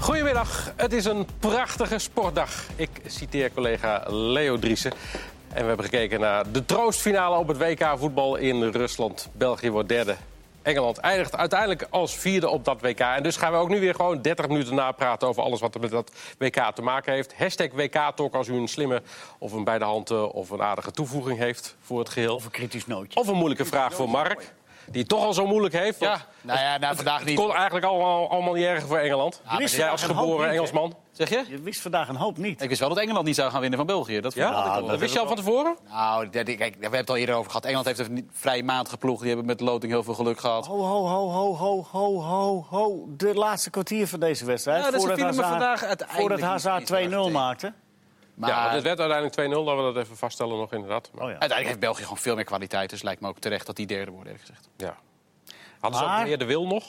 Goedemiddag, het is een prachtige sportdag. Ik citeer collega Leo Driessen. En we hebben gekeken naar de troostfinale op het WK voetbal in Rusland. België wordt derde. Engeland eindigt uiteindelijk als vierde op dat WK. En dus gaan we ook nu weer gewoon 30 minuten napraten over alles wat er met dat WK te maken heeft. Hashtag WK-talk als u een slimme of een bij de hand eh, of een aardige toevoeging heeft voor het geheel. Of een kritisch nootje. Of een moeilijke vraag voor Mark, die het toch al zo moeilijk heeft. Ja, nou ja, nou, vandaag het niet. kon eigenlijk allemaal, allemaal niet erg voor Engeland. maar dit Jij is als een hoop geboren niet, hè? Engelsman, zeg je? Je wist vandaag een hoop niet. Ik wist wel dat Engeland niet zou gaan winnen van België. Dat Ja, verhaal ik al wel. dat wist je al van tevoren? Nou, dat- kijk, we hebben het al eerder over gehad. Engeland heeft een vrij maand geploegd. Die hebben met de loting heel veel geluk gehad. Ho, ho, ho, ho, ho, ho, ho, ho. De laatste kwartier van deze wedstrijd. Ja, dus ze voordat vielen me Hazard- vandaag uiteindelijk Voordat Hazard niet heel erg 2-0 tegen. maakte. Maar Ja, want het werd uiteindelijk 2-0, laten we dat even vaststellen nog inderdaad. Maar, Oh ja. uiteindelijk heeft België gewoon veel meer kwaliteit. Dus lijkt me ook terecht dat die derde wordt, eerlijk gezegd. ja. Hadden ze ook Maar- meer de wil nog?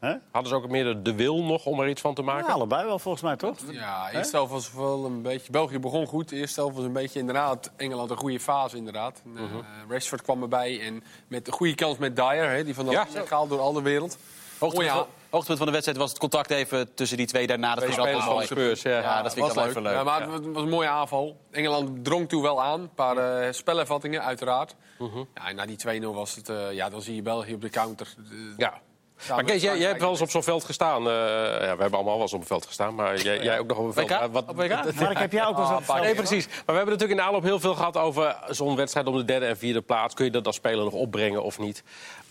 Hè? Hadden ze ook meer de, de wil nog om er iets van te Ja, maken? allebei wel volgens mij, toch? Ja, eerst zelf was wel een beetje. België begon goed. Eerst zelf was een beetje inderdaad Engeland een goede fase inderdaad. En, Mhm. eh, Rashford kwam erbij en met een goede kans met Dyer, hè, die van dat Ja. werd gehaald door al de wereld. Hoogtepunt, Oh ja. van, hoogtepunt van de wedstrijd was het contact even tussen die twee daarna. Dat Twee vind ik altijd spelers van mooi. Spurs, ja. Ja, dat vind ik was altijd even leuk. Ja, maar het was een mooie aanval. Engeland drong toen wel aan. Een paar eh, spelervattingen, uiteraard. Mhm. Ja, en na die 2-0 was het... eh, ja, dan zie je België op de counter. Eh, Ja. samen maar met Kees, jij, jij hebt Frankrijk. wel eens op zo'n veld gestaan. Eh, ja, we hebben allemaal wel eens op een veld gestaan, maar jij, jij ook nog op een veld. WK? eh, wat- Op WK? Maar ik heb jou ook wel Ah, eens paar aan Nee, precies. Maar we hebben natuurlijk in de aanloop heel veel gehad over zo'n wedstrijd om de derde en vierde plaats. Kun je dat als speler nog opbrengen of niet?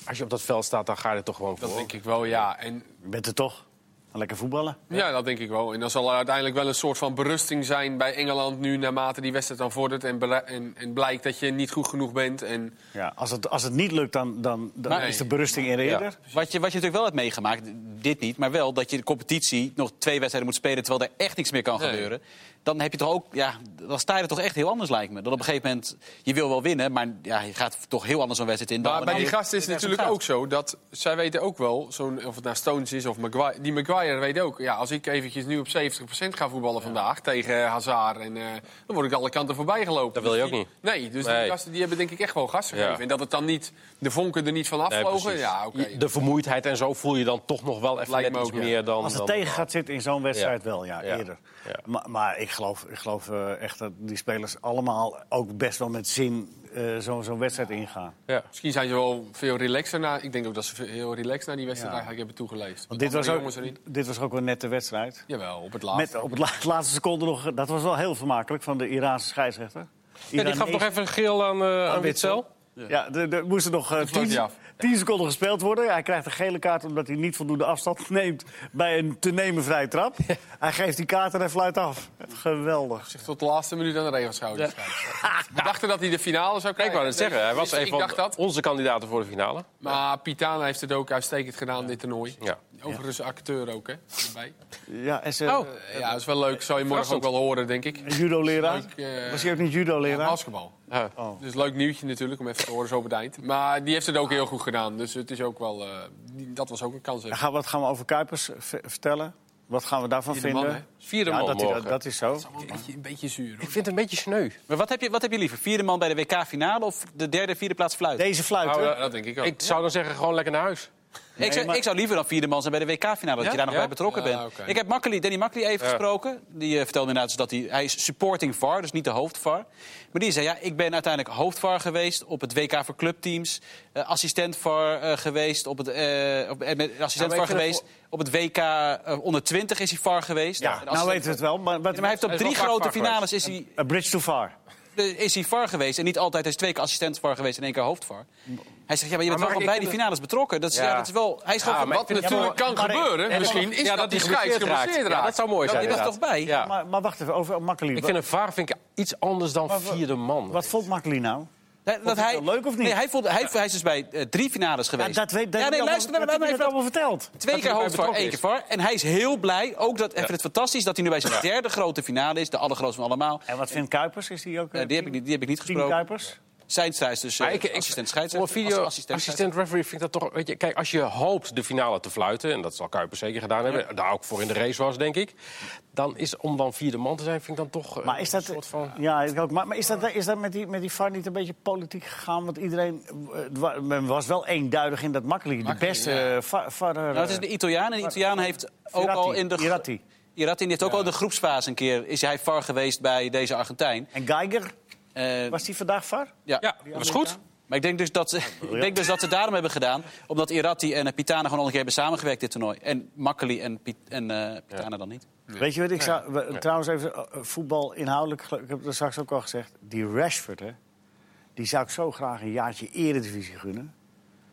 Als je op dat veld staat, dan ga je er toch gewoon voor. Dat denk ik wel, ja. En Je bent er toch. Lekker voetballen. Ja, dat denk ik wel. En dan zal er uiteindelijk wel een soort van berusting zijn bij Engeland nu... naarmate die wedstrijd dan vordert en, bele- en, en blijkt dat je niet goed genoeg bent. En Ja, als, het, als het niet lukt, dan, dan, dan Maar- is de berusting eerder. Wat je, wat je natuurlijk wel hebt meegemaakt, dit niet, maar wel dat je de competitie nog twee wedstrijden moet spelen terwijl er echt niks meer kan Nee. gebeuren. Dan heb je toch ook, ja, dan sta je er toch echt heel anders lijkt me. Dan op een gegeven moment, je wil wel winnen, maar ja, je gaat toch heel anders zo'n wedstrijd in. dan Maar bij die wanneer je- gasten is het natuurlijk ook zo dat zij weten ook wel, zo'n, of het nou Stones is of Maguire, die Maguire weet ook. Ja, als ik eventjes nu op 70% ga voetballen vandaag tegen Hazard, en, eh, dan word ik alle kanten voorbij gelopen. Dat wil je ook niet. Nee, dus Nee. die gasten die hebben denk ik echt wel gas gegeven. Ja. En dat het dan niet, de vonken er niet van Nee, afvlogen, precies. ja, oké. Je- De vermoeidheid en zo voel je dan toch nog wel even Lijkt net me iets ook, ja. meer dan... Als het dan- tegen gaat zitten in zo'n wedstrijd Ja. wel, ja, Ja. eerder. Ja. Maar, maar ik geloof, ik geloof eh, echt dat die spelers allemaal ook best wel met zin eh, zo- zo'n wedstrijd ingaan. Ja. Misschien zijn ze wel veel relaxer na. Ik denk ook dat ze veel- heel relaxed naar die wedstrijd Ja. eigenlijk hebben toegeleefd. Want dit was, Andere ook, jongens erin. Ah, dit was ook wel net de wedstrijd. Jawel, op het laatst. Met op het la- laatste seconde nog, dat was wel heel vermakelijk van de Iraanse scheidsrechter. Ja, die Iran gaf nog is- even een geel aan, eh aan Witzel. Ja, er, er moesten nog eh, vloot tien, hij af. tien seconden gespeeld worden. Hij krijgt een gele kaart omdat hij niet voldoende afstand neemt bij een te nemen vrije trap. Hij geeft die kaart en hij fluit af. Geweldig. Zich tot de laatste minuut aan de regels houden. We dachten dat hij de finale zou Kijk, krijgen. ik wou het zeggen. Hij was Dus een Ik dacht van dat. onze kandidaten voor de finale. Maar Pitana heeft het ook uitstekend gedaan, dit toernooi. Ja. Overigens een acteur ook, hè? erbij. Ja, en ze, Oh, Eh, Ja, dat is wel leuk. Zou je morgen ook wel horen, denk ik. judo-leraar. Leuk, eh, Was hij ook niet Ja, judo-leraar? basketbal. eh, Dus leuk nieuwtje natuurlijk, om even te horen zo op het eind. Maar die heeft het ook heel goed gedaan. Dus het is ook wel... eh, die- dat was ook een kans. hè. Dan gaan we- wat gaan we over Kuipers eh, v- vertellen? Wat gaan we daarvan Vierde vinden? man, hè? vierde ja, man dat, morgen. dat, dat is zo. Een beetje, een beetje zuur. hoor. Ik vind het een beetje sneu. Maar wat heb, je, wat heb je liever, vierde man bij de WK-finale of de derde, vierde plaats fluiten? Deze fluit, Nou, hè? Ja, dat denk ik ook. Ik zou dan zeggen, gewoon lekker naar huis. ik, zou, maar- ik zou liever dan vierde man zijn bij de WK-finale, dat Ja? je daar nog Ja? bij betrokken Ja, bent. oké. Ik heb Makkely, Danny Makkely even Ja. gesproken. Die eh, vertelde inderdaad dat hij, hij is supporting VAR, dus niet de hoofdvar. Maar die zei, ja, ik ben uiteindelijk hoofdvar geweest op het WK voor clubteams. eh, assistent VAR eh, geweest op het... eh, op, eh, met- assistent Ja, maar VAR ik vind geweest het op het WK eh, onder 20 is hij VAR geweest. En Ja, nou assistent- weten we het wel. Maar, wat- Ja, maar hij heeft Hij op is wel drie vaak grote VAR finales is hij, A bridge too far. eh, is hij VAR geweest. En niet altijd, hij is twee keer assistent VAR geweest en één keer hoofdvar. Hij zegt, ja, maar je Maar bent wel Mark, gewoon bij ik die vind finales betrokken. Dat is, Ja. ja. dat is wel... Hij is gewoon Ja, van- maar Wat natuurlijk Ja, maar- kan gebeuren, Ja, misschien, is dat, die scheids geblesseerd raakt. Ja, dat zou mooi Ja, zijn. die was inderdaad. toch bij? Ja. Maar, maar wacht even, over Makkeli. Ik vind een VAR vind ik iets anders dan wa- vierde man. Wat vond Makkeli nou? Nee, dat het hij, wel leuk of niet? Nee, hij, voelde, hij, hij is dus bij eh, drie finales geweest. Ja, dat weet, dat ja, heb nee, je luister allemaal, naar dat mij heb je net even. allemaal verteld. Twee Dat keer hij erbij hoofdvar, betrokken één keer var. En hij is heel blij, ook dat, en vindt het fantastisch... dat hij nu bij zijn derde grote finale is. De allergrootste van allemaal. En wat vindt Kuipers? Is die ook? Eh, die, heb ik, niet- die heb ik niet Team gesproken. Kuipers? Zijn zij is dus eh, Maar ik- ik- assistent Voor een scheidsrechter. video Ass- assistent, scheidsrechter. referee vind ik dat toch... Weet je, kijk, als je hoopt de finale te fluiten... en dat zal Kuipers zeker gedaan hebben, daar ook voor in de race was, denk ik... dan is om dan vierde man te zijn, vind ik dan toch eh, Maar is dat, een soort van... ja, ik ook. Maar, maar is dat, is dat met, die, met die VAR niet een beetje politiek gegaan? Want iedereen eh, het wa- men was wel eenduidig in dat Makkeli. De beste eh, va- VAR... eh, Nou, het is een Italiaan en de Italiaan heeft ook Virati, al in de... Virati. Iratin heeft ook al in de groepsfase een keer... is hij VAR geweest bij deze Argentijn. En Geiger, Eh, was die vandaag var? ja. Ja, dat was goed. Maar ik denk, dus dat, ze- ik denk dus dat ze daarom hebben gedaan. Omdat Irati en eh, Pitana gewoon al een keer hebben samengewerkt dit toernooi. En Makkeli en, Pit, en eh, Pitana dan niet. Weet je wat ik zou... we- Trouwens even eh, eh, voetbal inhoudelijk. Ik heb dat straks ook al gezegd. Die Rashford, hè. Die zou ik zo graag een jaartje eredivisie gunnen.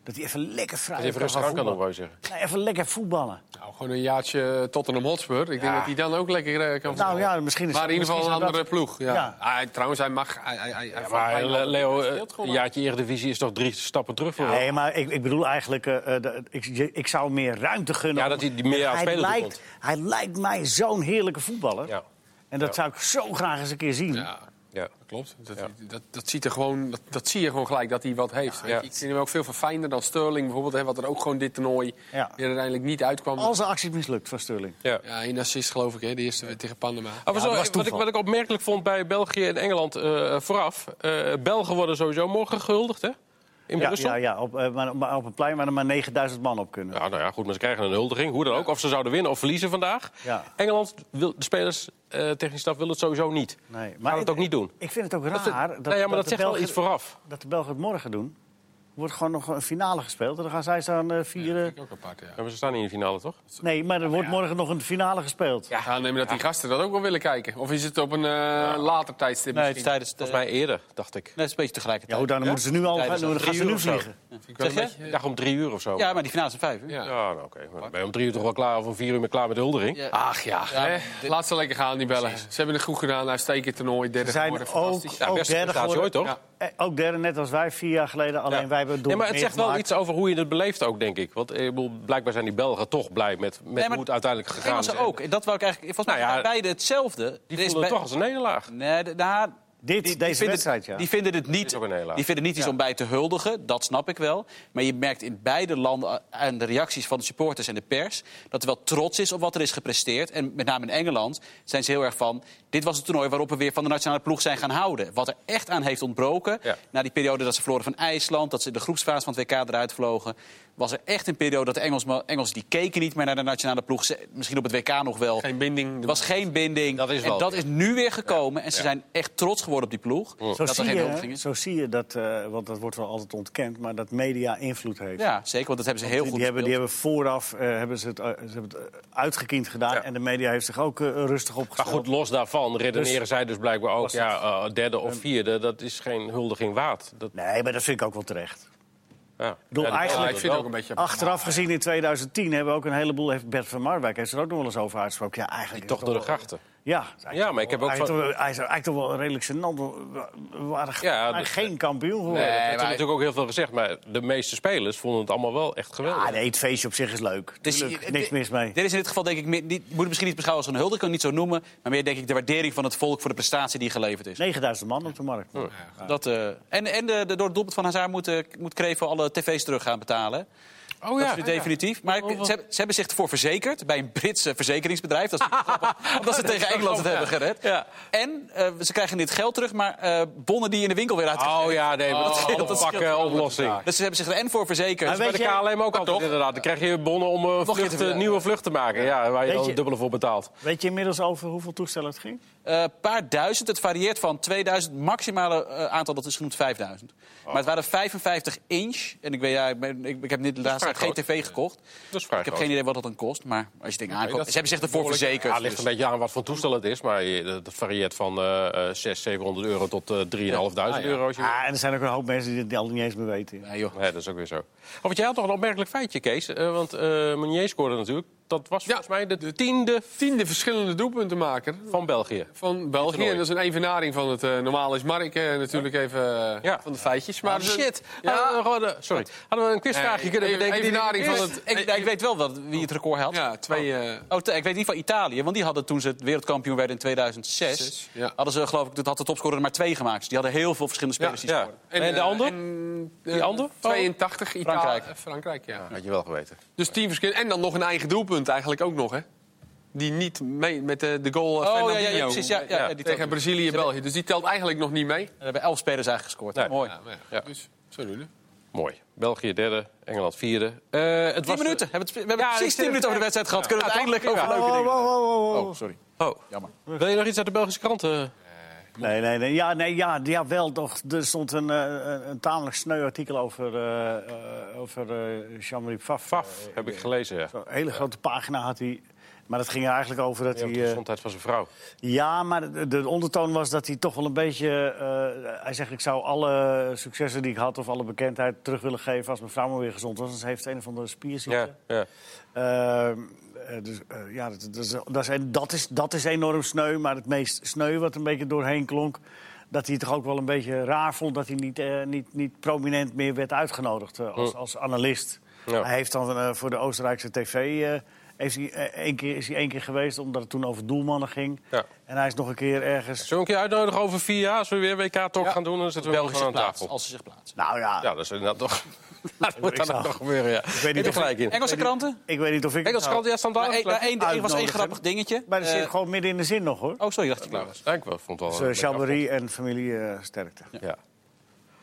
Dat hij even lekker vrij Even rustig aan kan nog wel zeggen. Nee, even lekker voetballen. Nou, gewoon een jaartje Tottenham Hotspur. Ik denk dat hij dan ook lekker eh, kan Nou voetballen. ja, misschien is Maar in ieder geval een misschien zou andere ploeg. Ja. Ah, Ja. Hij- trouwens, hij mag... Hij, hij, hij- hij- Maar hij- eh, Leo, hij eh, speelt een gewoon. jaartje Eredivisie is toch drie stappen terug voor hem? Nee, maar ik, ik bedoel eigenlijk, eh, eh, dat- ik, je- ik zou meer ruimte gunnen. Ja, dat hij die meer aan het hij spelen toe lijkt, hij lijkt mij zo'n heerlijke voetballer. Ja. En dat zou ik zo graag eens een keer zien. Ja, Ja. dat klopt. Dat, dat, dat, ziet er gewoon, dat, dat zie je gewoon gelijk dat hij wat heeft. weet Ja. je. Ik vind hem ook veel verfijnder dan Sterling bijvoorbeeld. Hè, wat er ook gewoon dit toernooi Ja. weer uiteindelijk niet uitkwam. Als de actie mislukt van Sterling. Ja. Ja, één assist geloof ik, hè, de eerste tegen Panama. Ah, was Ja, wel- dat was wat, ik, toeval. wat ik opmerkelijk vond bij België en Engeland eh, vooraf. eh, Belgen worden sowieso morgen gehuldigd, hè? In Ja, Brussel. ja, ja op, eh, maar- maar op een plein waar er maar 9000 man op kunnen. Ja, nou ja, goed, maar ze krijgen een huldiging. Hoe dan ook. Of ze zouden winnen of verliezen vandaag. Ja. Engeland, wil, de spelers, eh technisch staf, wil het sowieso niet. Nee, maar Gaan het ook niet doen. Ik vind het ook Dat, raar nou ja, maar dat, de zegt wel Belgen- iets vooraf. dat de Belgen het morgen doen. Er wordt gewoon nog een finale gespeeld. En dan gaan zij staan eh, vieren. Ook apart, ja. Ja, maar ze staan niet in de finale, toch? Nee, maar er wordt morgen nog een finale gespeeld. Ja, aannemen dat die gasten dat ook wel willen kijken. Of is het op een eh, later tijdstip Nee, het is misschien? tijdens de, Volgens mij eerder, dacht ik. nee, het is een beetje Ja, tegelijkertijd. hoe dan, dan moeten ze nu al Ja, gaan, dat is dan drie gaan ze uur nu of zo. vliegen. Vind ik wel Zeg een je? beetje- Ja, om drie uur of zo. Ja, maar die finale is om vijf uur. ja. Ja, nou oké. Maar ben je om drie uur toch wel klaar of om vier uur ben je klaar met de huldiging? Ja. Ach ja, Ja, hè? maar dit- Eh, laat ze lekker gaan, die bellen. Ze hebben het goed gedaan, uitstekend toernooi, derde Ze zijn geworden, ook, fantastisch. ook beste derde prestatie geworden. ooit, toch? Ja. Eh, Ook derde, net als wij vier jaar geleden. Alleen wij hebben het door nee, maar het meer zegt wel gemaakt. iets over hoe je het beleeft ook, denk ik. Want eh, ik bedoel, blijkbaar zijn die Belgen toch blij met, met maar hoe het uiteindelijk gegaan is. Engelsen ook. En dat wou ik eigenlijk. Volgens mij Nou ja, zijn beide hetzelfde. Die Er voelen is het bij- toch als een nederlaag. Nee, de- nou, Dit, deze vinden, wedstrijd, ja. Die vinden het niet, is ook een hele laag. die vinden niet iets om bij te huldigen, dat snap ik wel. Maar je merkt in beide landen aan de reacties van de supporters en de pers... dat er wel trots is op wat er is gepresteerd. En met name in Engeland zijn ze heel erg van... dit was het toernooi waarop we weer van de nationale ploeg zijn gaan houden. Wat er echt aan heeft ontbroken... Ja. na die periode dat ze verloren van IJsland... dat ze in de groepsfase van het WK eruit vlogen... was er echt een periode dat de Engels, Engels die keken niet meer naar de nationale ploeg. Ze- misschien op het WK nog wel. Geen binding. Er was geen binding. Dat is en wel- dat is nu weer gekomen. En ze zijn echt trots geworden op die ploeg. Zo, dat er zie geen je, huldiging is. zo zie je dat, eh, want dat wordt wel altijd ontkend, maar dat media invloed heeft. Ja, zeker. Want dat hebben ze heel die, goed die hebben, die gespeeld. hebben vooraf eh, hebben ze het, eh, ze hebben het eh, uitgekiend gedaan. Ja. En de media heeft zich ook eh, rustig Maar opgesteld. goed, los daarvan redeneren zij dus blijkbaar ook... ja, eh, derde of vierde, dat is geen huldiging waard. Dat, Nee, maar dat vind ik ook wel terecht. ja. bedoel, Ja, die- eigenlijk- Ja, ik vind het ook een beetje... Achteraf gezien in 2010 hebben we ook een heleboel... Heeft Bert van Marwijk heeft er ook nog wel eens over uitgesproken. Ja, eigenlijk is Toch het door de wel- grachten. Ja, het is eigenlijk Ja, maar ik heb wel- ook Hij is van- toch wel- hij is eigenlijk toch wel redelijk gênant. We waren Ja, dus- maar de- geen kampioen geworden. dat heeft maar- Eh, natuurlijk ook heel veel gezegd. Maar de meeste spelers vonden het allemaal wel echt geweldig. Ah, nee, het feestje op zich is leuk. Dus Tuurlijk, je- niks dit- mis mee. Dit is in dit geval, denk ik, meer- niet, moet het misschien niet beschouwen als een huldiging, kan ik het niet zo noemen. Maar meer, denk ik, de waardering van het volk voor de prestatie die geleverd is. 9000 man op de markt. Dat, eh, en en de, de- door het doelpunt van Hazard moet, eh, moet Krevel alle tv's terug gaan betalen. Oh dat is weer definitief. Maar ik- ze, hebben- ze hebben zich ervoor verzekerd bij een Britse verzekeringsbedrijf. Dat is grappig, omdat ze tegen Engeland het hebben gered. Ja. En eh, ze krijgen dit geld terug, maar eh, bonnen die in de winkel weer uit. Oh ja, nee, maar dat, scheelt- dat dat is een oplossing. Dus ze hebben zich er en voor verzekerd. Maar Bij Weet de jij- KLM ook altijd, inderdaad. Dan krijg je bonnen om een je vlucht, het weer- een nieuwe vlucht te maken. Ja, waar je Weet dan je- het dubbele voor betaalt. Weet je inmiddels over hoeveel toestellen het ging? Eh, paar duizend. Het varieert van 2000. Maximale eh, aantal dat is genoemd 5000. Maar het waren 55 inch. En ik, weet, ja, ik, ben- ik, ik heb niet laatst vrij geen groot. tv gekocht. Dat is vrij Ik heb groot. geen idee wat dat dan kost. Maar als je dingen aankoopt. dat Ze hebben zich ervoor Ja, verzekerd. het ligt dus. een beetje aan wat voor toestel het is. Maar je- dat varieert van eh eh 600, 700 euro tot eh 3.500 euro. Als je... Ah, en er zijn ook een hoop mensen die het al niet eens meer weten. Nee, joh. Nee, dat is ook weer zo. Oh, want jij had toch een opmerkelijk feitje, Kees. Eh, want eh Meunier scoorde natuurlijk. Dat was volgens mij de, tiende Tiende verschillende doelpuntenmaker van België. van België. toernooi. En dat is een evenaring van het eh normaal is Mark eh, natuurlijk even eh, Ja. van de feitjes. Maar Maar ze- shit. Ja. Hadden we gewoon, eh, sorry. Hadden we een quizvraagje Nee, kunnen even- bedenken? die evenaring er niet van is? het- Ik, nou, ik weet wel wat, wie het record had. Ja, twee... eh, Oh, te- ik weet niet van Italië, want die hadden toen ze het wereldkampioen werden in 2006... Zes, ja. hadden ze, geloof ik, dat had de topscorer er maar twee gemaakt. Dus die hadden heel veel verschillende spelers die Ja. scoorden. En, de eh, ander? en, eh, Die ander? 82, Italië. Frankrijk. Frankrijk. Frankrijk, ja. Eh, Had je wel geweten. Dus tien verschillende. En dan nog een eigen doelpunt eigenlijk ook nog, hè? Die niet mee met de, de goal eh, Oh, ja, ja, ja, Fernandinho. precies, ja, ja, ja, die telt tegen niet. Brazilië en België. Dus die telt eigenlijk nog niet mee. Er hebben elf spelers eigenlijk gescoord. Nee. Mooi. Ja, maar ja, Ja. Dus, zo doen we. Mooi. België derde, Engeland vierde. Eh, het Tien was minuten. We hebben, het- we hebben Ja, ik precies zit dus tien er- minuten over de wedstrijd gehad. Kunnen we Ja, het eindelijk prima. over leuke dingen wow, wow, wow, wow. Oh, sorry. Oh, Jammer. wil je nog iets uit de Belgische kranten? Nee, nee, nee. Ja, nee, ja, ja wel toch. Er stond een, eh, een, een tamelijk sneu artikel over, eh eh, over eh, Jean-Marie Pfaff. Faf, heb ik gelezen, ja. Zo'n hele grote pagina had hij. Maar dat ging er eigenlijk over dat hij... De eh, gezondheid van zijn vrouw. Ja, maar de, de ondertoon was dat hij toch wel een beetje. eh, hij zegt: Ik zou alle successen die ik had of alle bekendheid terug willen geven als mijn vrouw maar weer gezond was. Want ze heeft een of andere spierziekte. Ja, ja. Eh, eh, dus, eh, ja, dat, dat, is- dat, is, dat, is, dat is enorm sneu. Maar het meest sneu wat een beetje doorheen klonk. Dat hij het toch ook wel een beetje raar vond dat hij niet, eh, niet, niet prominent meer werd uitgenodigd eh, als, als analist. Hm. Ja. Hij heeft dan eh, voor de Oostenrijkse tv. eh, heeft hij, eh, één keer, is hij één keer geweest omdat het toen over doelmannen ging. Ja. En hij is nog een keer ergens. Zullen we een keer uitnodigen over vier jaar? Zullen we weer WK-talk Ja. gaan doen? Dan zitten we wel België gewoon zich aan plaatst, tafel. als ze zich plaatsen. Nou ja, Ja, dat is inderdaad toch... dat moet dan zou- ook nog gebeuren, ja. Ik weet niet of- gelijk in. Engelse kranten? ik weet niet of ik. het Engelse nou- krant, ja, standaard. Nou, één- nou, één- één was één grappig dingetje. Maar dat Eh, zit gewoon midden in de zin nog hoor. Oh, sorry, dacht ik. Nou, dank wel. Vond het wel Dus een eh, lekker Chambéry en familie eh, sterkte. afrond. Ja.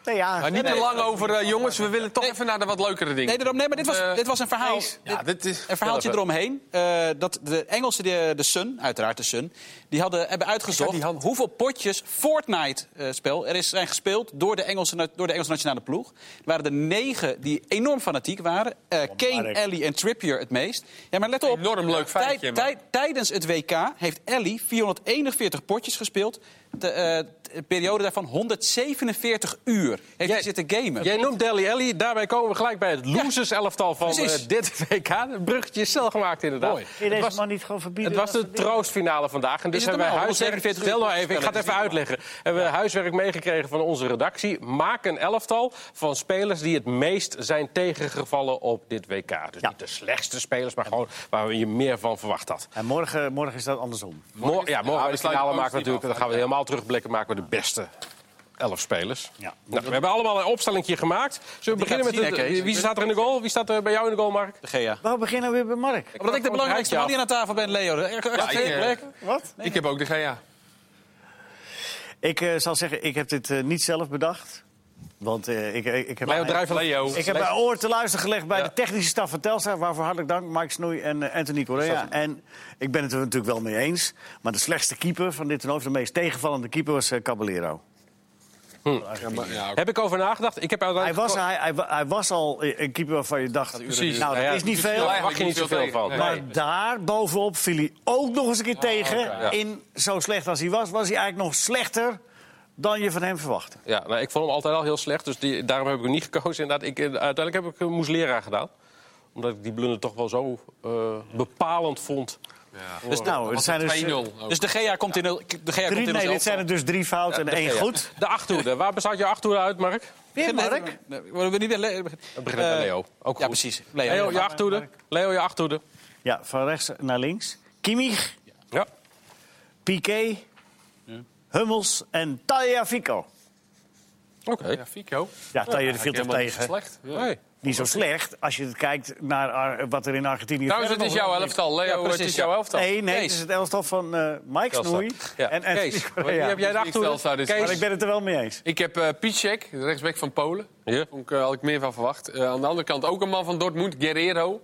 Nee, ja, Maar niet te lang over eh, jongens, we willen toch even naar de wat leukere dingen. Nee, daarom- nee, maar dit was, Eh, dit was een verhaal. Kees, ja, dit is- een verhaaltje eromheen. eh, dat de Engelsen, eh, de, de Sun, uiteraard de Sun, die hadden, hebben Kijk uitgezocht naar die hand. hoeveel potjes Fortnite-spel er is, zijn gespeeld door de, Engelse, na- door de Engelse nationale ploeg. Er waren er negen die enorm fanatiek waren. Eh, Kane, Mark. Ellie en Trippier het meest. Ja, maar let op. Enorm leuk Tij- feitje, maar- tij- tijdens het WK heeft Ellie 441 potjes gespeeld. De, eh, de periode daarvan 147 uur heeft Jij- hij zitten gamen. Jij noemt Deli Ellie. Daarbij komen we gelijk bij het losers-elftal van Precies. eh, dit WK. Een bruggetje is snel gemaakt, inderdaad. Mooi. Kun je Het deze was- man niet gewoon verbieden? Het was dat de soort dingen? troostfinale vandaag. En dus het hebben wij normaal? huiswerk. 147 Stel nou uur even, ik ga het even spelen, dat is uitleggen. Hebben we huiswerk meegekregen van onze redactie. Maak een elftal van spelers die het meest zijn tegengevallen op dit WK. Dus Ja. niet de slechtste spelers, maar gewoon waar je meer van verwacht had. En morgen, morgen is dat andersom. Mor- ja, morgen bij ja, we de sluiten finale ook maken we die natuurlijk. af. Dan gaan we helemaal terugblikken. Maken we de beste elf spelers. Ja. Nou, we hebben allemaal een opstellingje gemaakt. Zullen we Die beginnen laat met zien, hè, de, Kees? wie staat er in de goal? Wie staat er bij jou in de goal, Mark? De Gea. Waarom beginnen we weer bij Mark? Omdat ik de belangrijkste man hier aan tafel ben, Leo. Ja, ik, eh, Wat? ik heb ook de GA. Ik eh, zal zeggen, ik heb dit eh, niet zelf bedacht. Want eh, ik, ik, ik heb... Leo Druijf van Leo. Ik heb mijn oor te luisteren gelegd bij de technische staf van Telstra. Waarvoor hartelijk dank, Mike Snoei en eh, Anthony Correa. En ik ben het er natuurlijk wel mee eens. Maar de slechtste keeper van dit toernooi, of de meest tegenvallende keeper, was eh, Caballero. Ja, maar- ja, oké. Heb ik over nagedacht. Ik heb Hij uiteindelijk... was, hij, hij, wa- hij was al eh, een keeper waarvan je dacht... Precies. Nou, dat Nou ja, is niet veel. dus eigenlijk mag je niet zoveel van. Nee. Maar daar bovenop viel hij ook nog eens een keer tegen. Ja. In zo slecht als hij was, was hij eigenlijk nog slechter dan je van hem verwachtte. Ja, nou, ik vond hem altijd al heel slecht, dus die, daarom heb ik hem niet gekozen. Inderdaad, ik, eh, uiteindelijk heb ik eh, Moeslera gedaan. Omdat ik die blunder toch wel zo eh, bepalend vond. Dus nou, het zijn dus, eh, 2-0. ook. Dus de Gea komt in de, de Gea komt drie, in nee, ons dit zijn er dus drie fouten en één Ja. goed. De achterhoede. Waar bestaat je achterhoede uit, Mark? Weer Mark. Mark? We worden niet bij Leo. Dat begint met Leo. Ook Eh, Ja, goed. precies. Leo, Leo. je achterhoede. Leo, je achterhoede. Ja, van rechts naar links. Kimmich, Ja. Piqué, Hummels en Taya Fico. Oké. Ja, Fico. Ja, Taya viel toch Helemaal niet zo tegen. Slecht. Ja. Nee. Niet zo slecht als je kijkt naar Ar- wat er in Argentinië... Trouwens, het verder is nog- jouw elftal. Leo, precies, het is ja. jouw elftal. Nee, nee, het Kees. is het elftal van eh Mike Telstra. Snoei Ja. en Anthony Kees, Correa. wie heb jij de Die Telstra achterhoede? dus. Maar ik Kees. ben het er wel mee eens. Ik heb eh Piszczek, de rechtsback van Polen. Ja. Vond ik, eh, had ik meer van verwacht. Eh, aan de andere kant ook een man van Dortmund, Guerrero.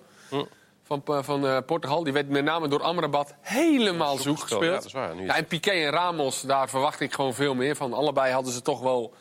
Van, eh, van eh, Portugal. Die werd met name door Amrabat helemaal zoek gespeeld. gespeeld. Ja, dat is waar. Nu is- Ja, en Piqué en Ramos, daar verwacht ik gewoon veel meer van. Allebei hadden ze toch wel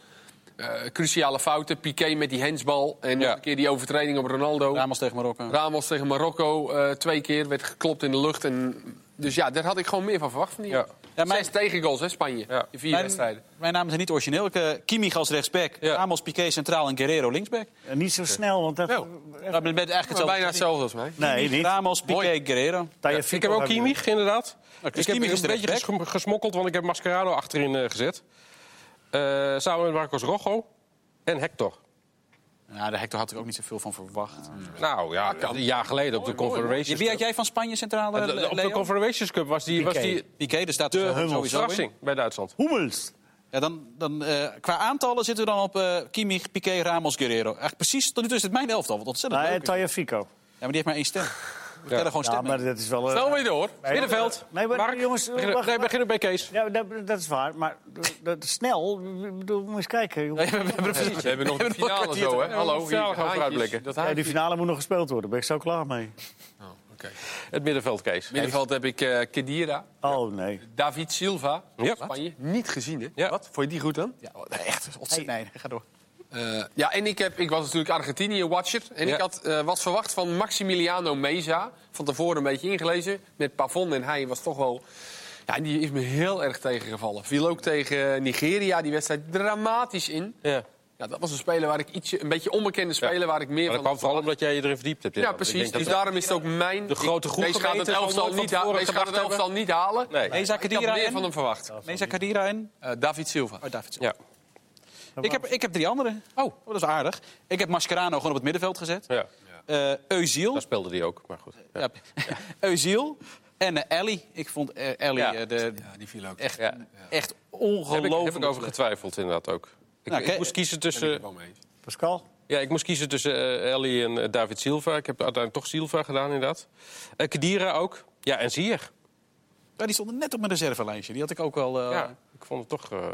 eh, cruciale fouten. Piqué met die hensbal en nog Ja. een keer die overtreding op Ronaldo. Ramos tegen Marokko. Ramos tegen Marokko eh, twee keer, werd geklopt in de lucht. En, dus ja, daar had ik gewoon meer van verwacht van die. Ja. Ja, mijn- Zes tegengoals, hè, Spanje. Ja. In vier Mijn, wedstrijden. mijn namen zijn niet origineel. Ik, eh, Kimmich als rechtsback, Ja. Ramos Piqué centraal en Guerrero linksback. En niet zo snel, want dat... Nou, Dat bent eigenlijk Maar hetzelfde. bijna hetzelfde als mij. nee, niet. Ramos, Piqué, Mooi. Guerrero. Taya Ik Fico heb ook hebben- Kimmich, inderdaad. ik heb Kimmich is een de beetje rechtsback. gesm- gesmokkeld, want ik heb Mascherano achterin eh, gezet. Eh, samen met Marcos Rojo en Hector. Nou, de Hector had ik ook niet zoveel van verwacht. Nou ja, een jaar geleden op de Confederations Eh, Wie had jij van Spanje centrale, De- de- Op de Leo? Confederations Cup was die, was Piqué. die Piqué, dus staat de er sowieso in. verrassing bij Duitsland. Hummels. Ja, dan, dan, eh, qua aantallen zitten we dan op eh Kimmich, Piqué, Ramos, Guerrero. Eigenlijk precies, tot nu toe is het mijn elftal. Wat ontzettend Nou, leuk en is. Taya Fico. Ja, maar die heeft maar één stem. We tellen gewoon Ja, stemmen. maar dat is wel... eh, Snel weer door. Middenveld. Nee, maar Mark, jongens, begin, wacht, nee, wacht. begin bij Kees. Ja, dat, dat is waar, maar dat, dat- snel, ik bedoel, moet eens kijken. joh. We hebben een We hebben nog de finale kwartier zo, te hè? gaan. Hallo, We gaan hier, haantjes. vooruitblikken. Dat Ja, haantje. die finale moet nog gespeeld worden, daar ben ik zo klaar mee. Oh, oké. Het middenveld, Kees. Middenveld heb ik eh Kedira, Oh, nee. David Silva, Ja. Spanje. Niet gezien, hè? Ja. Wat? Vond je die goed dan? Ja, echt ontzettend. Nee, ga door. Eh, ja, en ik, heb, ik was natuurlijk Argentinië-watcher. En Ja. ik had eh, wat verwacht van Maximiliano Meza. Van tevoren een beetje ingelezen. Met Pavon en hij was toch wel... Ja, en die is me heel erg tegengevallen. Viel ook tegen Nigeria die wedstrijd dramatisch in. Ja. Ja, dat was een speler waar ik ietsje... Een beetje onbekende speler waar ik meer Maar dat van... kwam vooral omdat jij je erin verdiept hebt. Ja, inderdaad. Ik precies. denk dat Dus dat- daarom is het ook mijn... De grote groep Deze gaat het gemeente zal elftal nooit van niet, ha- tevoren deze gaat het gedacht elftal niet halen. Nee. Meza Ik had Kadira meer en... van hem verwacht. Meza Kadira en... Eh, David Silva. Oh, David. Ja. Ik heb, ik heb drie anderen. Oh. dat is aardig. Ik heb Mascherano gewoon op het middenveld gezet. ja, Eh Euziel. daar speelde die ook. Maar goed. Ja. Ja. Euziel. En eh, Ellie. Ik vond eh, Ellie Ja. eh, de, Ja, die viel ook. echt, Ja. echt Heb, ik, ongelooflijk. heb ik over getwijfeld, inderdaad ook. Ik, Nou, ik kijk, moest kiezen Daar ben ik tussen, het wel mee eens. Pascal? ja, ik moest kiezen tussen eh, Ellie en eh, David Silva. Ik heb uiteindelijk toch Silva gedaan, inderdaad. Eh Kedira ook. Ja, en Zier. Ja, die stonden net op mijn reservelijstje. Die had ik ook wel... eh, Ja, ik vond het toch... eh,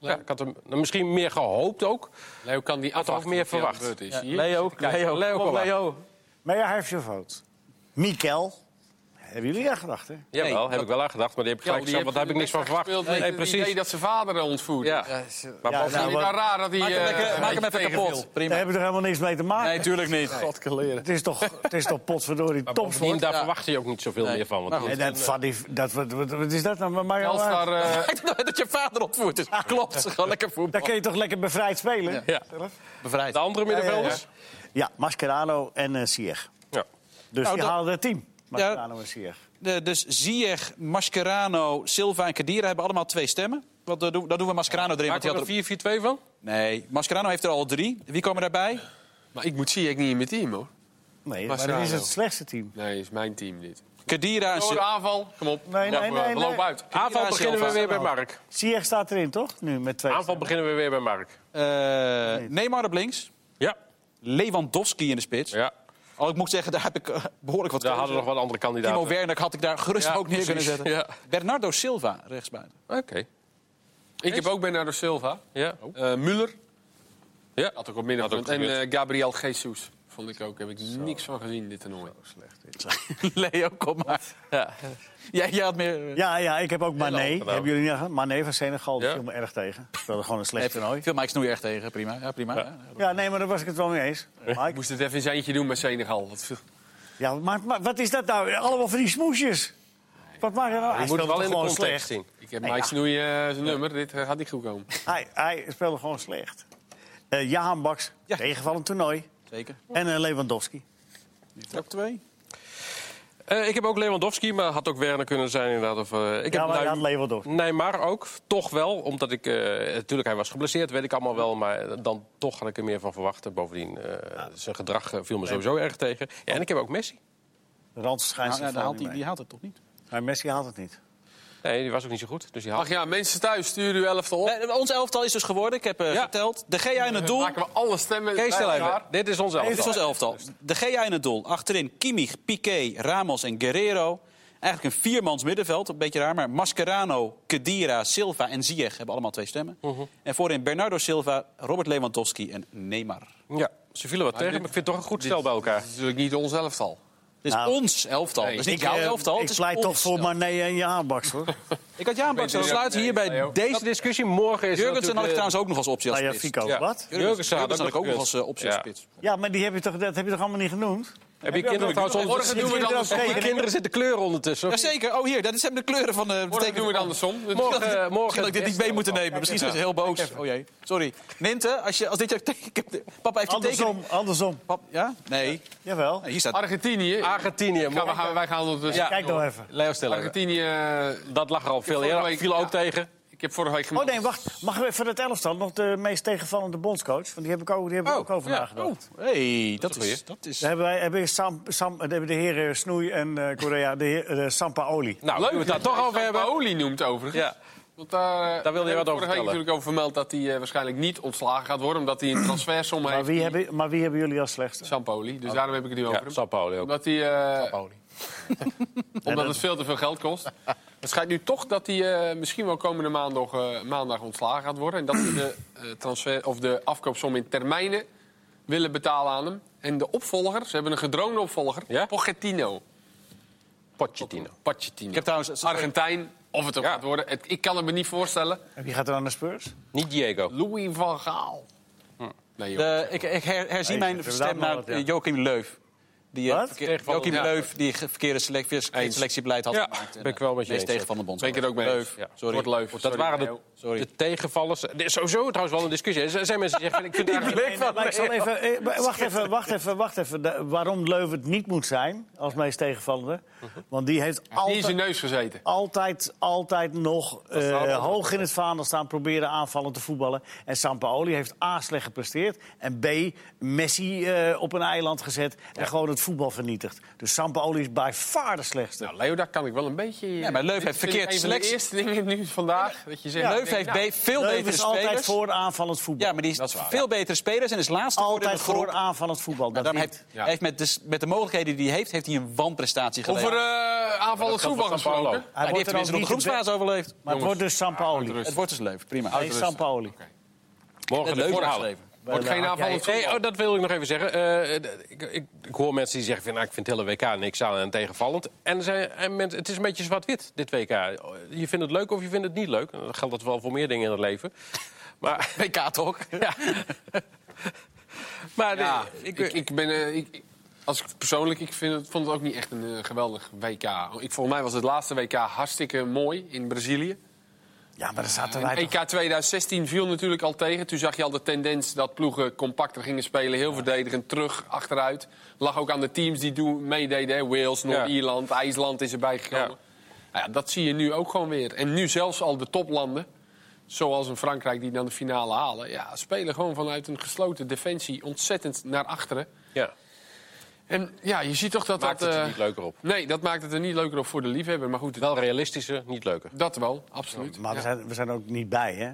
ja, ik had hem nou, misschien meer gehoopt ook. Leo kan die Had er ook afwachten meer wat er aan de verwacht. beurt is. Ja, Hier. Leo, Leo, Leo, kom op, kom maar. Leo. Meijer heeft je fout. Mikel, hebben jullie daar gedacht, hè? Jawel, Nee, heb ik wel aan gedacht, maar die heb ik gelijk gezegd, want daar heb ik niks van verwacht. Nee, Nee, precies. Het idee precies. dat zijn vader ontvoert. Ja. Maar Ja, Bas- nou, Vind je maar- nou raar dat hij... Maak hem lekker- maak hem even kapot. Daar Prima. hebben we toch helemaal niks mee te maken? Nee, tuurlijk niet. Het is toch, het is toch potverdorie Bovendien, topsport? daar verwacht je ook niet zoveel meer van. Want En dat, van die, dat, wat, wat, wat is dat nou? Maar Mario Laat, Telstar, eh, dat je vader ontvoert is. Klopt. Gewoon lekker voetbal. Daar kun je toch lekker bevrijd spelen? Ja, ja. Bevrijd. De andere middenvelders? Mascherano en eh Sieg. Ja. Dus Nou, die dat- halen er tien. Mascherano en Sieg. De, dus Ziyech, Mascherano, Silva en Kadira hebben allemaal twee stemmen. Want daar doen, daar doen we Mascherano erin. Want Maak die er had er- een 4-4-2 van? Nee, Mascherano heeft er al drie. Wie komen daarbij? Maar ik moet zie ik niet in mijn team, hoor. Nee, maar Mascherano. dit is het slechtste team. Nee, is mijn team dit. Kadira en Door Silva. aanval, kom op. Nee, Ja, nee, we- nee, We nee. lopen uit. Aanval en beginnen we Silva. weer bij Mark. Sieg staat erin, toch? Nu met twee. Aanval beginnen we weer bij Mark. Eh, Neymar op links. Ja, Lewandowski in de spits. ja. Al ik moet zeggen, daar heb ik eh, behoorlijk wat daar keuze. hadden we nog wel andere kandidaten. Timo Werner had ik daar gerust Ja, ook neer kunnen precies. zetten. Ja. Bernardo Silva rechtsbuiten. Oké. Ik heb ook Bernardo Silva. Ja. Eh Muller. Ja. Had ook op midden. Had ook En gebeurd. eh, Gabriel Jesus. Vond ik ook. Heb ik niks van gezien in dit toernooi. Leo, kom maar. Ja. Jij, jij had meer... Ja, ja, ik heb ook Mané. gedaan. Hebben jullie niet gedaan? Mané van Senegal, dat Ja. viel me erg tegen. Speelde gewoon een Nee, slecht toernooi. Veel Mike Snoei erg tegen, prima. Ja, prima. Ja. Ja, nee, maar daar was ik het wel mee eens. Mike? Ik moest het even in zijn eentje doen met Senegal. Wat veel- Ja, maar, maar wat is dat nou? Allemaal van die smoesjes. Wat maakt er nou? Je Hij moet speelde het eh, wel in de gewoon context slecht. zien. Ik heb Nee, Mike ja. Snoei eh, zijn nummer. Dit eh, gaat niet goed komen. Hij, hij speelde gewoon slecht. Eh Jahan Baks, Ja. tegenvallend toernooi. Zeker. En eh, Lewandowski. Ook twee. Eh, ik heb ook Lewandowski, maar had ook Werner kunnen zijn inderdaad. Of, eh, ik Ja, heb maar Ney- ja, Lewandowski. Neymar ook, toch wel. Omdat ik, eh, natuurlijk hij was geblesseerd, weet ik allemaal wel. Maar dan toch had ik er meer van verwachten. Bovendien, eh, zijn gedrag eh, viel me sowieso erg tegen. Ja, en ik heb ook Messi. Rand schijnt Nou, zich ja, dan gewoon haalt niet die, die mee. haalt het toch niet? Maar Messi haalt het niet. Nee, die was ook niet zo goed. Dus die had... Ach ja, mensen thuis, stuur uw elftal op. Eh, ons elftal is dus geworden. Ik heb eh, Ja. geteld. De GA in het Dan doel. maken we alle stemmen Kees, stel bij even. elkaar. Dit is ons elftal. Dit is ons elftal. De GA in het doel. Achterin Kimmich, Piqué, Ramos en Guerrero. Eigenlijk een viermans middenveld. Een beetje raar, maar Mascherano, Kedira, Silva en Ziyech hebben allemaal twee stemmen. En voorin Bernardo Silva, Robert Lewandowski en Neymar. Ja, ze vielen wat tegen, dit- maar ik vind het toch een goed stel bij elkaar. Dat is natuurlijk niet ons elftal. Dit is Nou, ons elftal. Dit is niet jouw eh, elftal. ik het is pleit ons toch voor elftal. Mané en Jahan Baks, hoor. Ik had Jaan Baks. Ik We weet sluiten niet. hier Nee, bij Leo. Deze deze... discussie morgen is Jurgensen had ik natuurlijk, eh, trouwens ook nog als optie als Nou ja, spits. Fico, ja. wat? Jurgensen had Jurgensen had ik ook nog als eh, optie als Ja. spits. Ja, maar die heb je toch, dat heb je toch allemaal niet genoemd? Heb je kinderen trouwens Morgen onder... doen we het Zitten jullie andersom. er ook Die tegen? kinderen zitten kleuren ondertussen. Jazeker. Oh, hier. Dat zijn de kleuren van de... Morgen doen we het andersom. Het- Morgen- Misschien dat- misschien dat ik dit het niet mee moet nemen. Misschien zijn ze heel boos. Oh jee. Sorry. Ninte, als, je, als dit jouw teken... ik heb de- Papa heeft je teken... Andersom, andersom. Pap, ja? Nee. Jawel. Nee, Hier staat... eh, Argentinië. Argentinië, Gaan we, morgen. gaan, wij gaan ondertussen. Ah, Ja. Kijk nou even. Leo Steller, Argentinië. eh, dat lag er al veel vorige eerder. week- Viel ook ja. tegen. Ik heb vorige week Oh gemaakt. nee, wacht. Mag ik voor het elftal nog de meest tegenvallende bondscoach? Want die heb ik ook, die heb ik ook over nagedacht. hey, dat, is... Dat is... Daar hebben, wij, hebben, Sam, Sam, daar hebben de heren Snoei en eh, Correa, de heer, eh, Sampaoli. Nou, Leuk, we het daar toch over hebben. Olie noemt overigens. Ja. Want daar, Daar wilde je wat over vorige week vertellen. natuurlijk over vermeld dat hij eh, waarschijnlijk niet ontslagen gaat worden. Omdat hij een transfersom heeft. Maar wie, hebben, maar wie hebben jullie als slechtste? Sampoli. Dus daarom heb ik het nu over Oh. Ja, hem. Sao Paulo ook. Omdat hij... eh, Pauli. Omdat het veel te veel geld kost. Het schijnt nu toch dat hij eh, misschien wel komende maandag, eh, maandag ontslagen gaat worden. En dat ze de, eh, transfer, of de afkoopsom in termijnen willen betalen aan hem. En de opvolger, ze hebben een gedroomde opvolger, Ja? Pochettino. Pochettino. Pochettino. Ik heb trouwens- Argentijn, of het ook Ja. gaat worden. Het- ik kan het me niet voorstellen. En Wie gaat er aan de Spurs? Niet Diego. Louis van Gaal. Nee, joh. De- ik ik her- herzie Hey, mijn inderdaad stem maar naar wat, ja. eh, Joachim Leuf. Die, eh, Wat? verkeer- Tegenvaller. Joachim Ja. Leuf, die ge- verkeerde selec- verkeerd Eens. selectiebeleid had Ja, gemaakt. En, ben ik wel eh, met je meest eens. tegen van de bond. Ben ik het ook mee eens. Leuf, Ja. sorry. Wordt leuk. Dat waren de, Sorry. de tegenvallers. Er is Sowieso trouwens wel een discussie. Er zijn mensen die zeggen... Ik vind het eigenlijk... Nee, maar ik zal even, eh, maar wacht even, wacht even, wacht even. De- waarom Leuven het niet moet zijn als meest tegenvallende. Want die heeft Die in zijn altijd, neus gezeten. altijd, altijd nog eh, hoog in het vaandel staan... proberen aanvallen te voetballen. En Sampaoli heeft A, slecht gepresteerd... en B, Messi eh, op een eiland gezet en gewoon het voetbal vernietigd. Dus Sampaoli is bij far de slechtste. Nou, Leo, daar kan ik wel een beetje... Ja, maar Leuf heeft verkeerd Een van de selectie. eerste dingen nu vandaag. Dat je zegt, Ja. ik Leuf denk, heeft nou, be- veel Leuven betere is altijd spelers. voor aanvallend voetbal. Ja, maar die is veel betere spelers en is laatste geworden in altijd de groep. voor aanvallend voetbal. En Dat dan niet. heeft, heeft met, de, s- met de mogelijkheden die hij heeft, heeft hij een wanprestatie geleverd. Over nou, eh aanvallend geldt voetbal voor San gesproken. Paolo. Ja, die heeft er ook tenminste nog de niet de groepsfase overleefd. Maar het wordt dus Sampaoli. rust. Het Het wordt dus Leuf, prima. is Sampaoli. Morgen de Leuf voorhalen. geschreven. Wordt Bij de geen Haak- aanvallend Nee, voetbal. oh, dat wil ik nog even zeggen. Eh, d- ik, ik, ik hoor mensen die zeggen: van, nou, ik vind het hele WK niks aan en tegenvallend. En, er zijn, en mensen, het is een beetje zwart-wit, dit WK. Je vindt het leuk of je vindt het niet leuk. Dan geldt dat wel voor meer dingen in het leven. Maar, WK toch? ja. maar nee, Ja, ik, ik, ik ben... eh, ik, ik- als ik persoonlijk, ik vind het, vond het ook niet echt een eh, geweldig WK. Ik, volgens mij was het laatste WK hartstikke mooi in Brazilië. Ja, maar daar zaten En wij toch... EK 2016 E viel natuurlijk al tegen. Toen zag je al de tendens dat ploegen compacter gingen spelen. Heel verdedigend, terug, achteruit. Lag ook aan de teams die doen, meededen. hè. Wales, Noord-Ierland, IJsland is erbij gekomen. Nou ja, dat zie je nu ook gewoon weer. En nu zelfs al de toplanden, zoals in Frankrijk die dan de finale halen... Ja, spelen gewoon vanuit een gesloten defensie ontzettend naar achteren. ja. En ja, je ziet toch dat Maakt dat... het er eh, niet leuker op. Nee, dat maakt het er niet leuker op voor de liefhebber. Maar goed, het- Wel realistischer, niet leuker. dat wel, absoluut. Maar we Ja. zijn, we zijn ook niet bij, hè?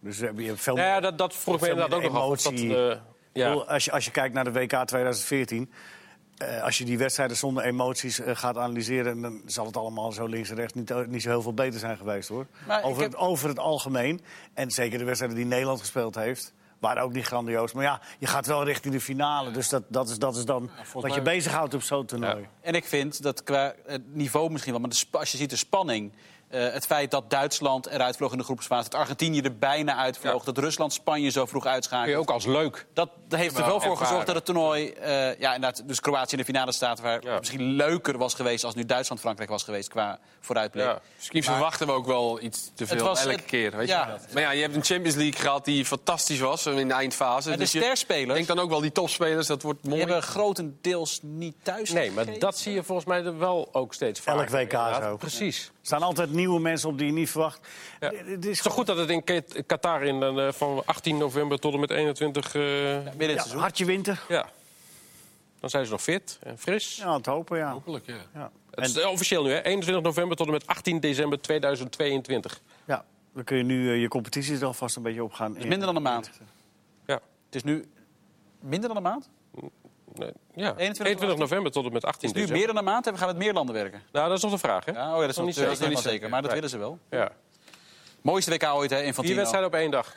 Dus we hebben hier veel Nou ja, dat, dat vroeg me veel inderdaad ook meer nog af. of Dat, emotie. eh, Ik ja. bedoel, als, je, als je kijkt naar de WK 2014... eh, als je die wedstrijden zonder emoties eh, gaat analyseren... dan zal het allemaal zo links en rechts niet, eh, niet zo heel veel beter zijn geweest, hoor. Maar ik Over, heb- het, over het algemeen. En zeker de wedstrijden die Nederland gespeeld heeft... waren ook niet grandioos. Maar ja, je gaat wel richting de finale. Dus dat, dat, is, dat is dan wat je bezighoudt op zo'n toernooi. En ik vind dat qua eh, niveau misschien wel, maar de sp- als je ziet de spanning. eh, het feit dat Duitsland eruit vloog in de groepsfase, dat Argentinië er bijna uitvloog, dat Rusland Spanje zo vroeg Kun je uitschakelde. ook als leuk. Dat heeft er wel voor ervaren. gezorgd dat het toernooi, eh, ja, inderdaad, dus Kroatië in de finale staat, waar Ja. het misschien leuker was geweest als nu Duitsland-Frankrijk was geweest qua vooruitblik. Ja. Misschien verwachten we ook wel iets te veel Het was- elke het- keer. Weet ja. je? wel. Maar ja, je hebt een Champions League gehad die fantastisch was in de eindfase. En de Dus je sterspelers denkt dan ook wel die topspelers, dat wordt die mooi. hebben grotendeels niet thuis Nee, maar gegeven. dat zie je volgens mij er wel ook steeds vaker. Elk WK inderdaad. zo. Precies. Er staan altijd nieuwe mensen op die je niet verwacht. Ja. D- Het Het is is toch goed dat het in Kat- Qatar in, eh, van 18 november tot en met 21... eh, ja. Midden in het Ja, seizoen. hartje winter. Dan zijn ze nog fit en fris. Ja, het hopen, ja. Hopelijk, ja. ja. Het En is eh, officieel nu, hè? 21 november tot en met 18 december 2022. ja, dan kun je nu eh, je competities er alvast een beetje op gaan. Het is minder dan een maand. Ja. Het is nu minder dan een maand? Nee, ja. 21 21, november tot en met 18 Het is nu december. meer dan een maand en we gaan met meer landen werken. Nou, dat is nog de vraag, hè? Ja, oh ja, dat is nog niet niet zeker. zeker, dat is nog niet Nee. zeker maar dat Nee. willen ze wel. Ja. Mooiste WK ooit, hè, Vier Infantino. wedstrijden op één dag.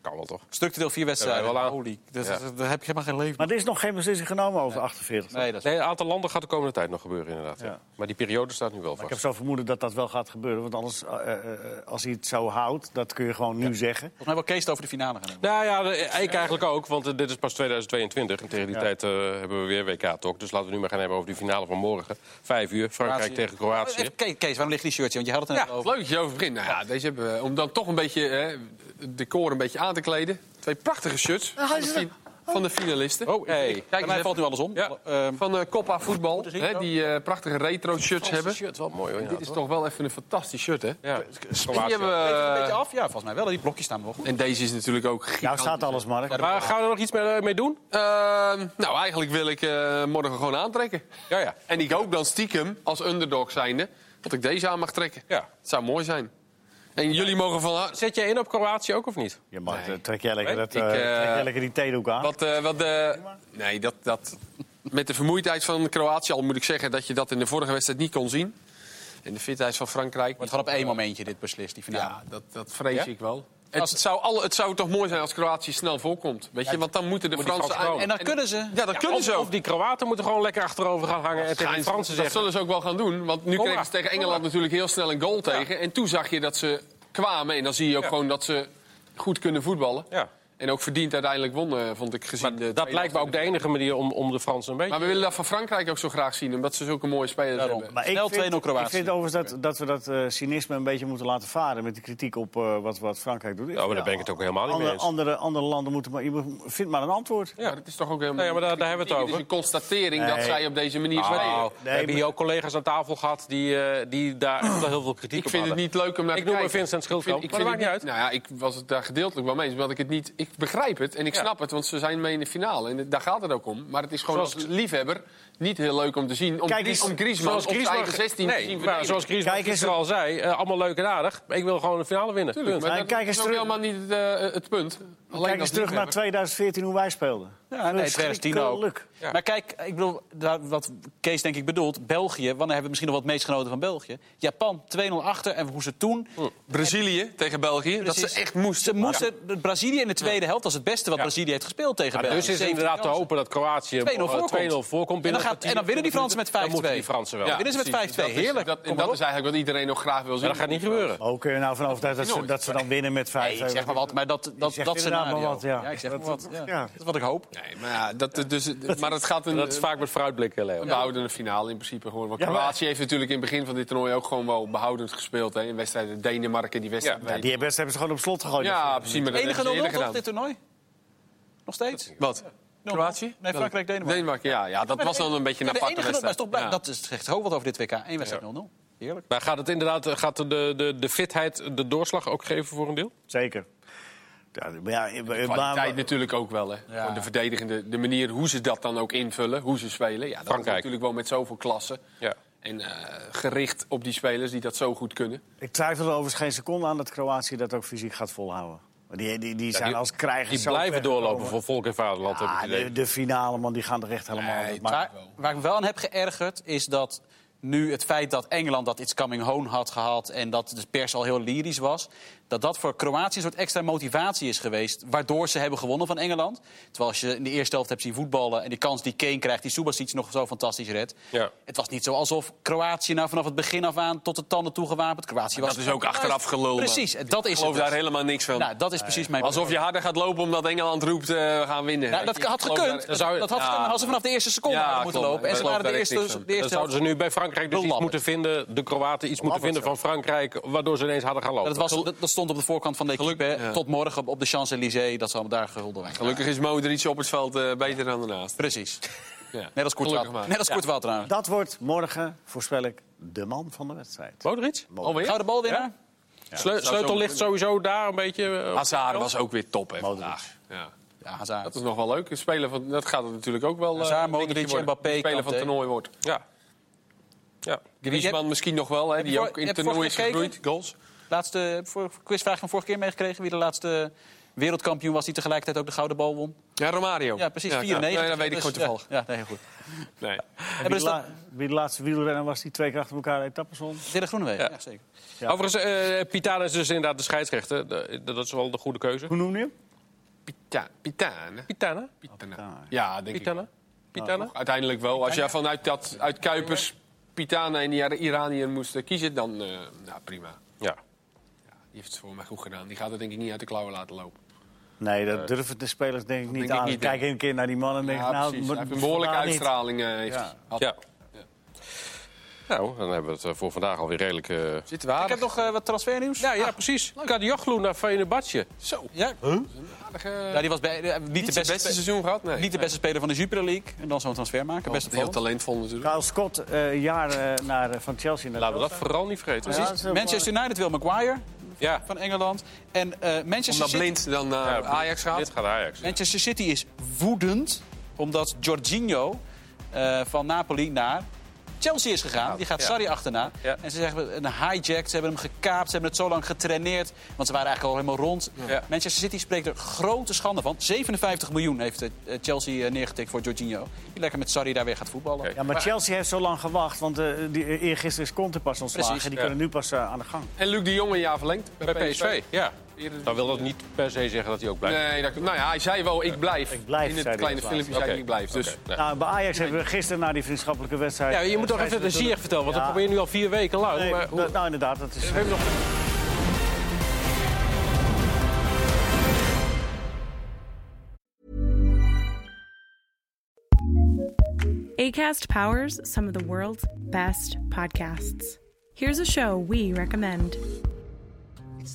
Kan wel, toch? Structureel vier wedstrijden. Ja, wel aan. Holy, dat, Ja. dat- daar heb je helemaal geen leven. Maar er is nog geen beslissing genomen over 48. Nee, dat is... Nee, een aantal landen gaat de komende tijd nog gebeuren, inderdaad. ja. Ja. Maar die periode staat nu wel Ik vast. heb zo vermoeden dat dat wel gaat gebeuren. Want anders, eh, eh, eh, als hij het zo houdt, dat kun je gewoon nu zeggen. Volgens mij wil Kees het over de finale gaan hebben. Nou ja, de- ik eigenlijk ook, want eh, dit is pas 2022. En tegen die tijd eh, hebben we weer WK-talk. Dus laten we nu maar gaan hebben over die finale van morgen. Vijf uur, Frankrijk Kroatië. tegen Kroatië. Oh, Even, Kees, Kees, waarom ligt die shirtje? Want je had het net Ja, over. leuk dat je over begint. Nou ja, deze hebben we, om dan toch een beetje hè, het decor een beetje aan te kleden. Twee prachtige shirts van de, fi- van de finalisten. Oh, hey. Kijk Bij eens mij even. valt nu alles om. Ja. Ehm, Van eh Coppa Voetbal, is hier hè, die eh, prachtige retro shirts hebben. shirt, wel mooi hoor. Dit is toch wel even een fantastisch shirt, hè? Ja, Die Kroatië. hebben we- eh, weet je het een beetje af? Ja, volgens mij wel. Die blokjes staan wel goed. En deze is natuurlijk ook gigantisch. Nou staat alles, Mark. Maar gaan we er nog iets mee, mee doen? Ehm, nou, eigenlijk wil ik eh, morgen gewoon aantrekken. Ja, ja. En ik hoop dan stiekem, als underdog zijnde, dat ik deze aan mag trekken. Ja. Het zou mooi zijn. En jullie mogen van... ha- Zet je in op Kroatië ook of niet? Je mag, eh, trek, jij lekker Nee, dat, eh, ik, eh, trek jij lekker die theedoek aan. Wat, eh, wat de... Nee, dat... dat... Met de vermoeidheid van Kroatië, al moet ik zeggen dat je dat in de vorige wedstrijd niet kon zien. En de fitheid van Frankrijk. Wordt gewoon op één momentje dit beslist, die finale. Ja, dat, dat vrees Ja? ik wel. Het, Als- het zou alle, het zou toch mooi zijn als Kroatië snel voorkomt. Weet je, want dan moeten de moet die Fransen... Fransen komen. En dan kunnen ze. Ja, dat kunnen of, ze Of ook. die Kroaten moeten gewoon lekker achterover gaan hangen en tegen de Gaan ze- Fransen dat zeggen... zullen ze ook wel gaan doen. Want nu Kom kregen maar, ze tegen kom Engeland maar. natuurlijk heel snel een goal tegen. En toen zag je dat ze kwamen. En dan zie je ook Ja. gewoon dat ze goed kunnen voetballen. Ja. En ook verdiend uiteindelijk wonnen, eh, vond ik gezien. Maar de dat tweede lijkt me ook de enige manier om, om de Fransen een beetje... Maar we willen dat van Frankrijk ook zo graag zien, omdat ze zulke mooie spelers Daarom. hebben. Maar ik Snel vind- 2-0 Kroatië. Ik vind overigens dat, dat we dat eh, cynisme een beetje moeten laten varen... met de kritiek op eh, wat, wat Frankrijk doet. maar Oh, daar ben ik het ook helemaal niet mee andere, eens. Andere, andere landen moeten... Maar, je moet- vindt maar een antwoord. Ja. Maar het is toch ook helemaal... Nee, maar daar- daar hebben we het Het is een constatering dat Nee. zij op deze manier Nou, spelen. we hebben hier ook collega's aan tafel gehad die, eh, die daar echt wel heel veel kritiek Ik op vind het hadden. niet leuk om naar Ik te noem kijken. maar Vincent Schildkamp, Ik maar dat vind- ik maakt niet vind uit. het Nou ja, ik was het daar gedeeltelijk wel mee eens. omdat Ik, het niet, ik begrijp het en ik Ja. snap het, want ze zijn mee in de finale. En daar gaat het ook om. Maar het is gewoon Zoals als liefhebber niet heel leuk om te zien. Om, Kijk Gries- eens, om Griezmann op zijn eigen 16 te nee, maar zien verdedigen. zoals Griezmann Kijk eens- gisteren al zei, eh, allemaal leuk en aardig. maar Ik wil gewoon de finale winnen. Tuurlijk, Punt. maar Maar dat kijk is eens ook terug- helemaal niet eh, het punt. Alleen Kijk als eens terug naar liefhebber. 2014, hoe wij speelden. Ja, nee, 2010 ook. Ja. Maar kijk, ik bedoel, daar- wat Kees denk ik bedoelt, België, wanneer hebben we misschien nog wat meest genoten van België? Japan, 2-0 achter en hoe ze toen... Hm. Brazilië tegen België, dat Precies. ze echt moesten. Ze moesten de- Brazilië in de tweede helft, dat is het beste wat Ja. Brazilië heeft gespeeld tegen Ja, België. dus is het 17 inderdaad te kansen. hopen dat Kroatië 2-0 eh, voorkomt. 2-0 voorkomt. En dan, binnen gaat, en dan winnen die Fransen met 5-2. Dan moeten die Fransen wel. Ja, Winnen ze met precies. 5-2. Dat is- Heerlijk. Dat, en Kom dat maar is eigenlijk wat iedereen nog graag wil zien. Maar dat gaat niet gebeuren. Ook eh, nou vanaf dat, dat, ze, nooit. dat ze dan winnen met 5-2. Nee, ik zeg maar wat, maar dat, dat, zegt dat inderdaad scenario. maar wat, ja. ik zeg maar Dat- wat. Ja. ja. Dat is wat ik hoop. Nee, maar, ja, dat, dus, maar het gaat een, Dat is vaak met vooruitblikken, Leo. behoudende finale in principe. Gewoon. Want Ja, maar- Kroatië heeft natuurlijk in het begin van dit toernooi ook gewoon wel behoudend gespeeld. Hè. In wedstrijden Denemarken, die wedstrijd. Ja, weet- Die wedstrijd hebben ze gewoon op slot gegooid. ja precies. Maar dat Enige hebben ze 0 eerder toch gedaan. dit toernooi? Nog steeds? Wat? 0-0? Kroatië? Nee, Frankrijk, Denemarken. Denemarken, ja. ja dat Maar was de dan een beetje een enige- de aparte enige nul- Maar wedstrijd. is toch blij- Ja. dat is, zegt ook wat over dit WK. Eén wedstrijd 0-0. Heerlijk. Maar gaat het inderdaad eh, gaat de, de, de fitheid de doorslag ook geven voor een deel? Zeker. Ja, maar ja, eh, eh, Kwaliteit maar- natuurlijk ook wel, hè. Gewoon De verdedigende, de manier hoe ze dat dan ook invullen, hoe ze spelen. Ja, dat is Frankrijk. natuurlijk wel met zoveel klassen. Ja. En eh, gericht op die spelers die dat zo goed kunnen. Ik twijfel er overigens geen seconde aan dat Kroatië dat ook fysiek gaat volhouden. Maar Die, die, die zijn die- als krijgers Die zo blijven weggekomen. doorlopen voor volk en vaderland. heb ik Ah, het idee. de, de finale, man, die gaan er echt helemaal... Nee, dat maakt- Waar, waar ik me wel aan heb geërgerd is dat nu het feit dat Engeland dat iets coming home had gehad en dat de pers al heel lyrisch was, dat dat voor Kroatië een soort extra motivatie is geweest, waardoor ze hebben gewonnen van Engeland. Terwijl als je in de eerste helft hebt zien voetballen en die kans die Kane krijgt, die Subasic nog zo fantastisch redt. Ja. Het was niet zo alsof Kroatië nou vanaf het begin af aan tot de tanden toe gewapend. Kroatië was Dat is ook achteraf gelul. maar Precies, en dat Ik is geloof het. daar helemaal niks van. Nou, dat is precies mijn Alsof je harder gaat lopen omdat Engeland roept, eh, we gaan winnen. Nou, dat Ik had geloof gekund. daar- Dat, dat had Ja. gekund als ze vanaf de eerste seconde Ja, hadden moeten klopt. lopen. En Ik ze geloof waren de daar eerste, echt niks van. de eerste Dan zouden helft- ze nu bij Frankrijk dus iets Belabberd. moeten vinden, de Kroaten iets moeten vinden van Frankrijk, waardoor ze ineens hadden gaan lopen. Dat, was, dat, dat stond op de voorkant van de equipe. hè. Tot morgen op de Champs-Élysées. Dat ze allemaal daar gehuldigd werden. Gelukkig is Modric op het veld eh, beter dan daarnaast. Precies. Ja. Net als Gelukkig Courtois. maar. Net als Courtois trouwens. Dat wordt morgen, voorspel ik, de man van de wedstrijd. Modric? Alweer? Gouden balwinnaar? Sleu- sleutel ligt sowieso daar een beetje. eh, Hazard was ook weer top, hè, Modric. vandaag. Ja. Ja, Hazard. Dat is nog wel leuk. Een Speler van, dat gaat het natuurlijk ook wel. eh, Hazard, een dingetje Modric, worden. Mbappé, Die Speler van het Kanté. toernooi wordt. ja. ja. Griezmann misschien nog wel, hè, je die voor- ook in heb het je toernooi is vorige keer gegroeid. Goals. Laatste heb ik voor quizvraag van vorige keer meegekregen. Wie de laatste wereldkampioen was die tegelijkertijd ook de gouden bal won. Ja, Romario. Ja, precies. Ja, 94. Nee, dat weet ik Dus, gewoon toevallig. Ja, ja, nee, heel goed. Nee. Wie, dus de dat- la- wie de laatste wielrenner was die twee keer achter elkaar etappes won? Dirk Groenewegen. Ja. zeker. Ja. Overigens, eh Pitana is dus inderdaad de scheidsrechter. De- Dat is wel de goede keuze. Hoe noem je hem? Pita- Pitana. Pitana? Pitana. Ja, denk ik. Pitana? Pitana? Uiteindelijk wel. Als jij vanuit dat, uit Kuipers, Pitana en die Iranier moest kiezen, dan eh, nou, prima. Ja. Die heeft het voor mij goed gedaan. Die gaat het denk ik niet uit de klauwen laten lopen. Nee, Eh, dat durven de spelers denk ik niet denk ik aan. niet, Kijk een keer naar die man en denk Ja, nou... precies. moet- Hij heeft een behoorlijke vandaag niet. uitstraling. eh, heeft Ja. hij gehad. ja. Nou, dan hebben we het eh, voor vandaag alweer redelijk. eh, Zitten we aardig. Ik heb nog eh, wat transfernieuws. Ja, ja, precies. Kadioglu naar Fenerbahce. Zo, Ja. aardige... Ja, die was bij, eh, niet, niet de beste, spe- seizoen gehad, nee. Oh, niet de beste speler van de Jupiler League. En dan zo'n transfer maken. Best heel opvallend. talentvol natuurlijk. Kyle Scott, eh, een jaar eh, naar, eh, van Chelsea naar Laten we dat vooral niet vergeten. Ja. Ja. dat is heel Manchester United wil Maguire ja. van Engeland. En eh, Manchester, Omdat City, Blind dan naar Ajax Dit gaat. gaat Ajax. Manchester City is woedend omdat Jorginho eh, van Napoli naar Chelsea is gegaan. Die gaat Nou, ja. Sarri achterna. Ja. En ze zeggen een hijacked. Ze hebben hem gekaapt. Ze hebben het zo lang getraineerd. Want ze waren eigenlijk al helemaal rond. Ja. Manchester City spreekt er grote schande van. 57 miljoen heeft eh, Chelsea eh, neergetikt voor Jorginho. Die lekker met Sarri daar weer gaat voetballen. Kijk. Ja, maar Chelsea heeft zo lang gewacht, want eh die, eergisteren is Conte pas ontslagen. Precies, die ja. kunnen nu pas eh, aan de gang. En Luc de Jong een jaar verlengd bij, Bij PSV, ja. Eerder- Dan wil dat niet per se zeggen dat hij ook blijft. Nee, dat, nou ja, hij zei wel, ik blijf. Ik blijf, In zei het hij kleine laatst. filmpje zei Oké. hij, ik blijf. Dus Oké, nou. Nou, bij Ajax hebben we gisteren na die vriendschappelijke wedstrijd... Ja, je moet eh, toch even de zeiden ze zier vertellen, want dat Ja. probeer je nu al vier weken lang. Nee, maar hoe... dat- nou, inderdaad, dat is... We hebben nog- ACAST powers some of the world's best podcasts. Here's a show we recommend. It's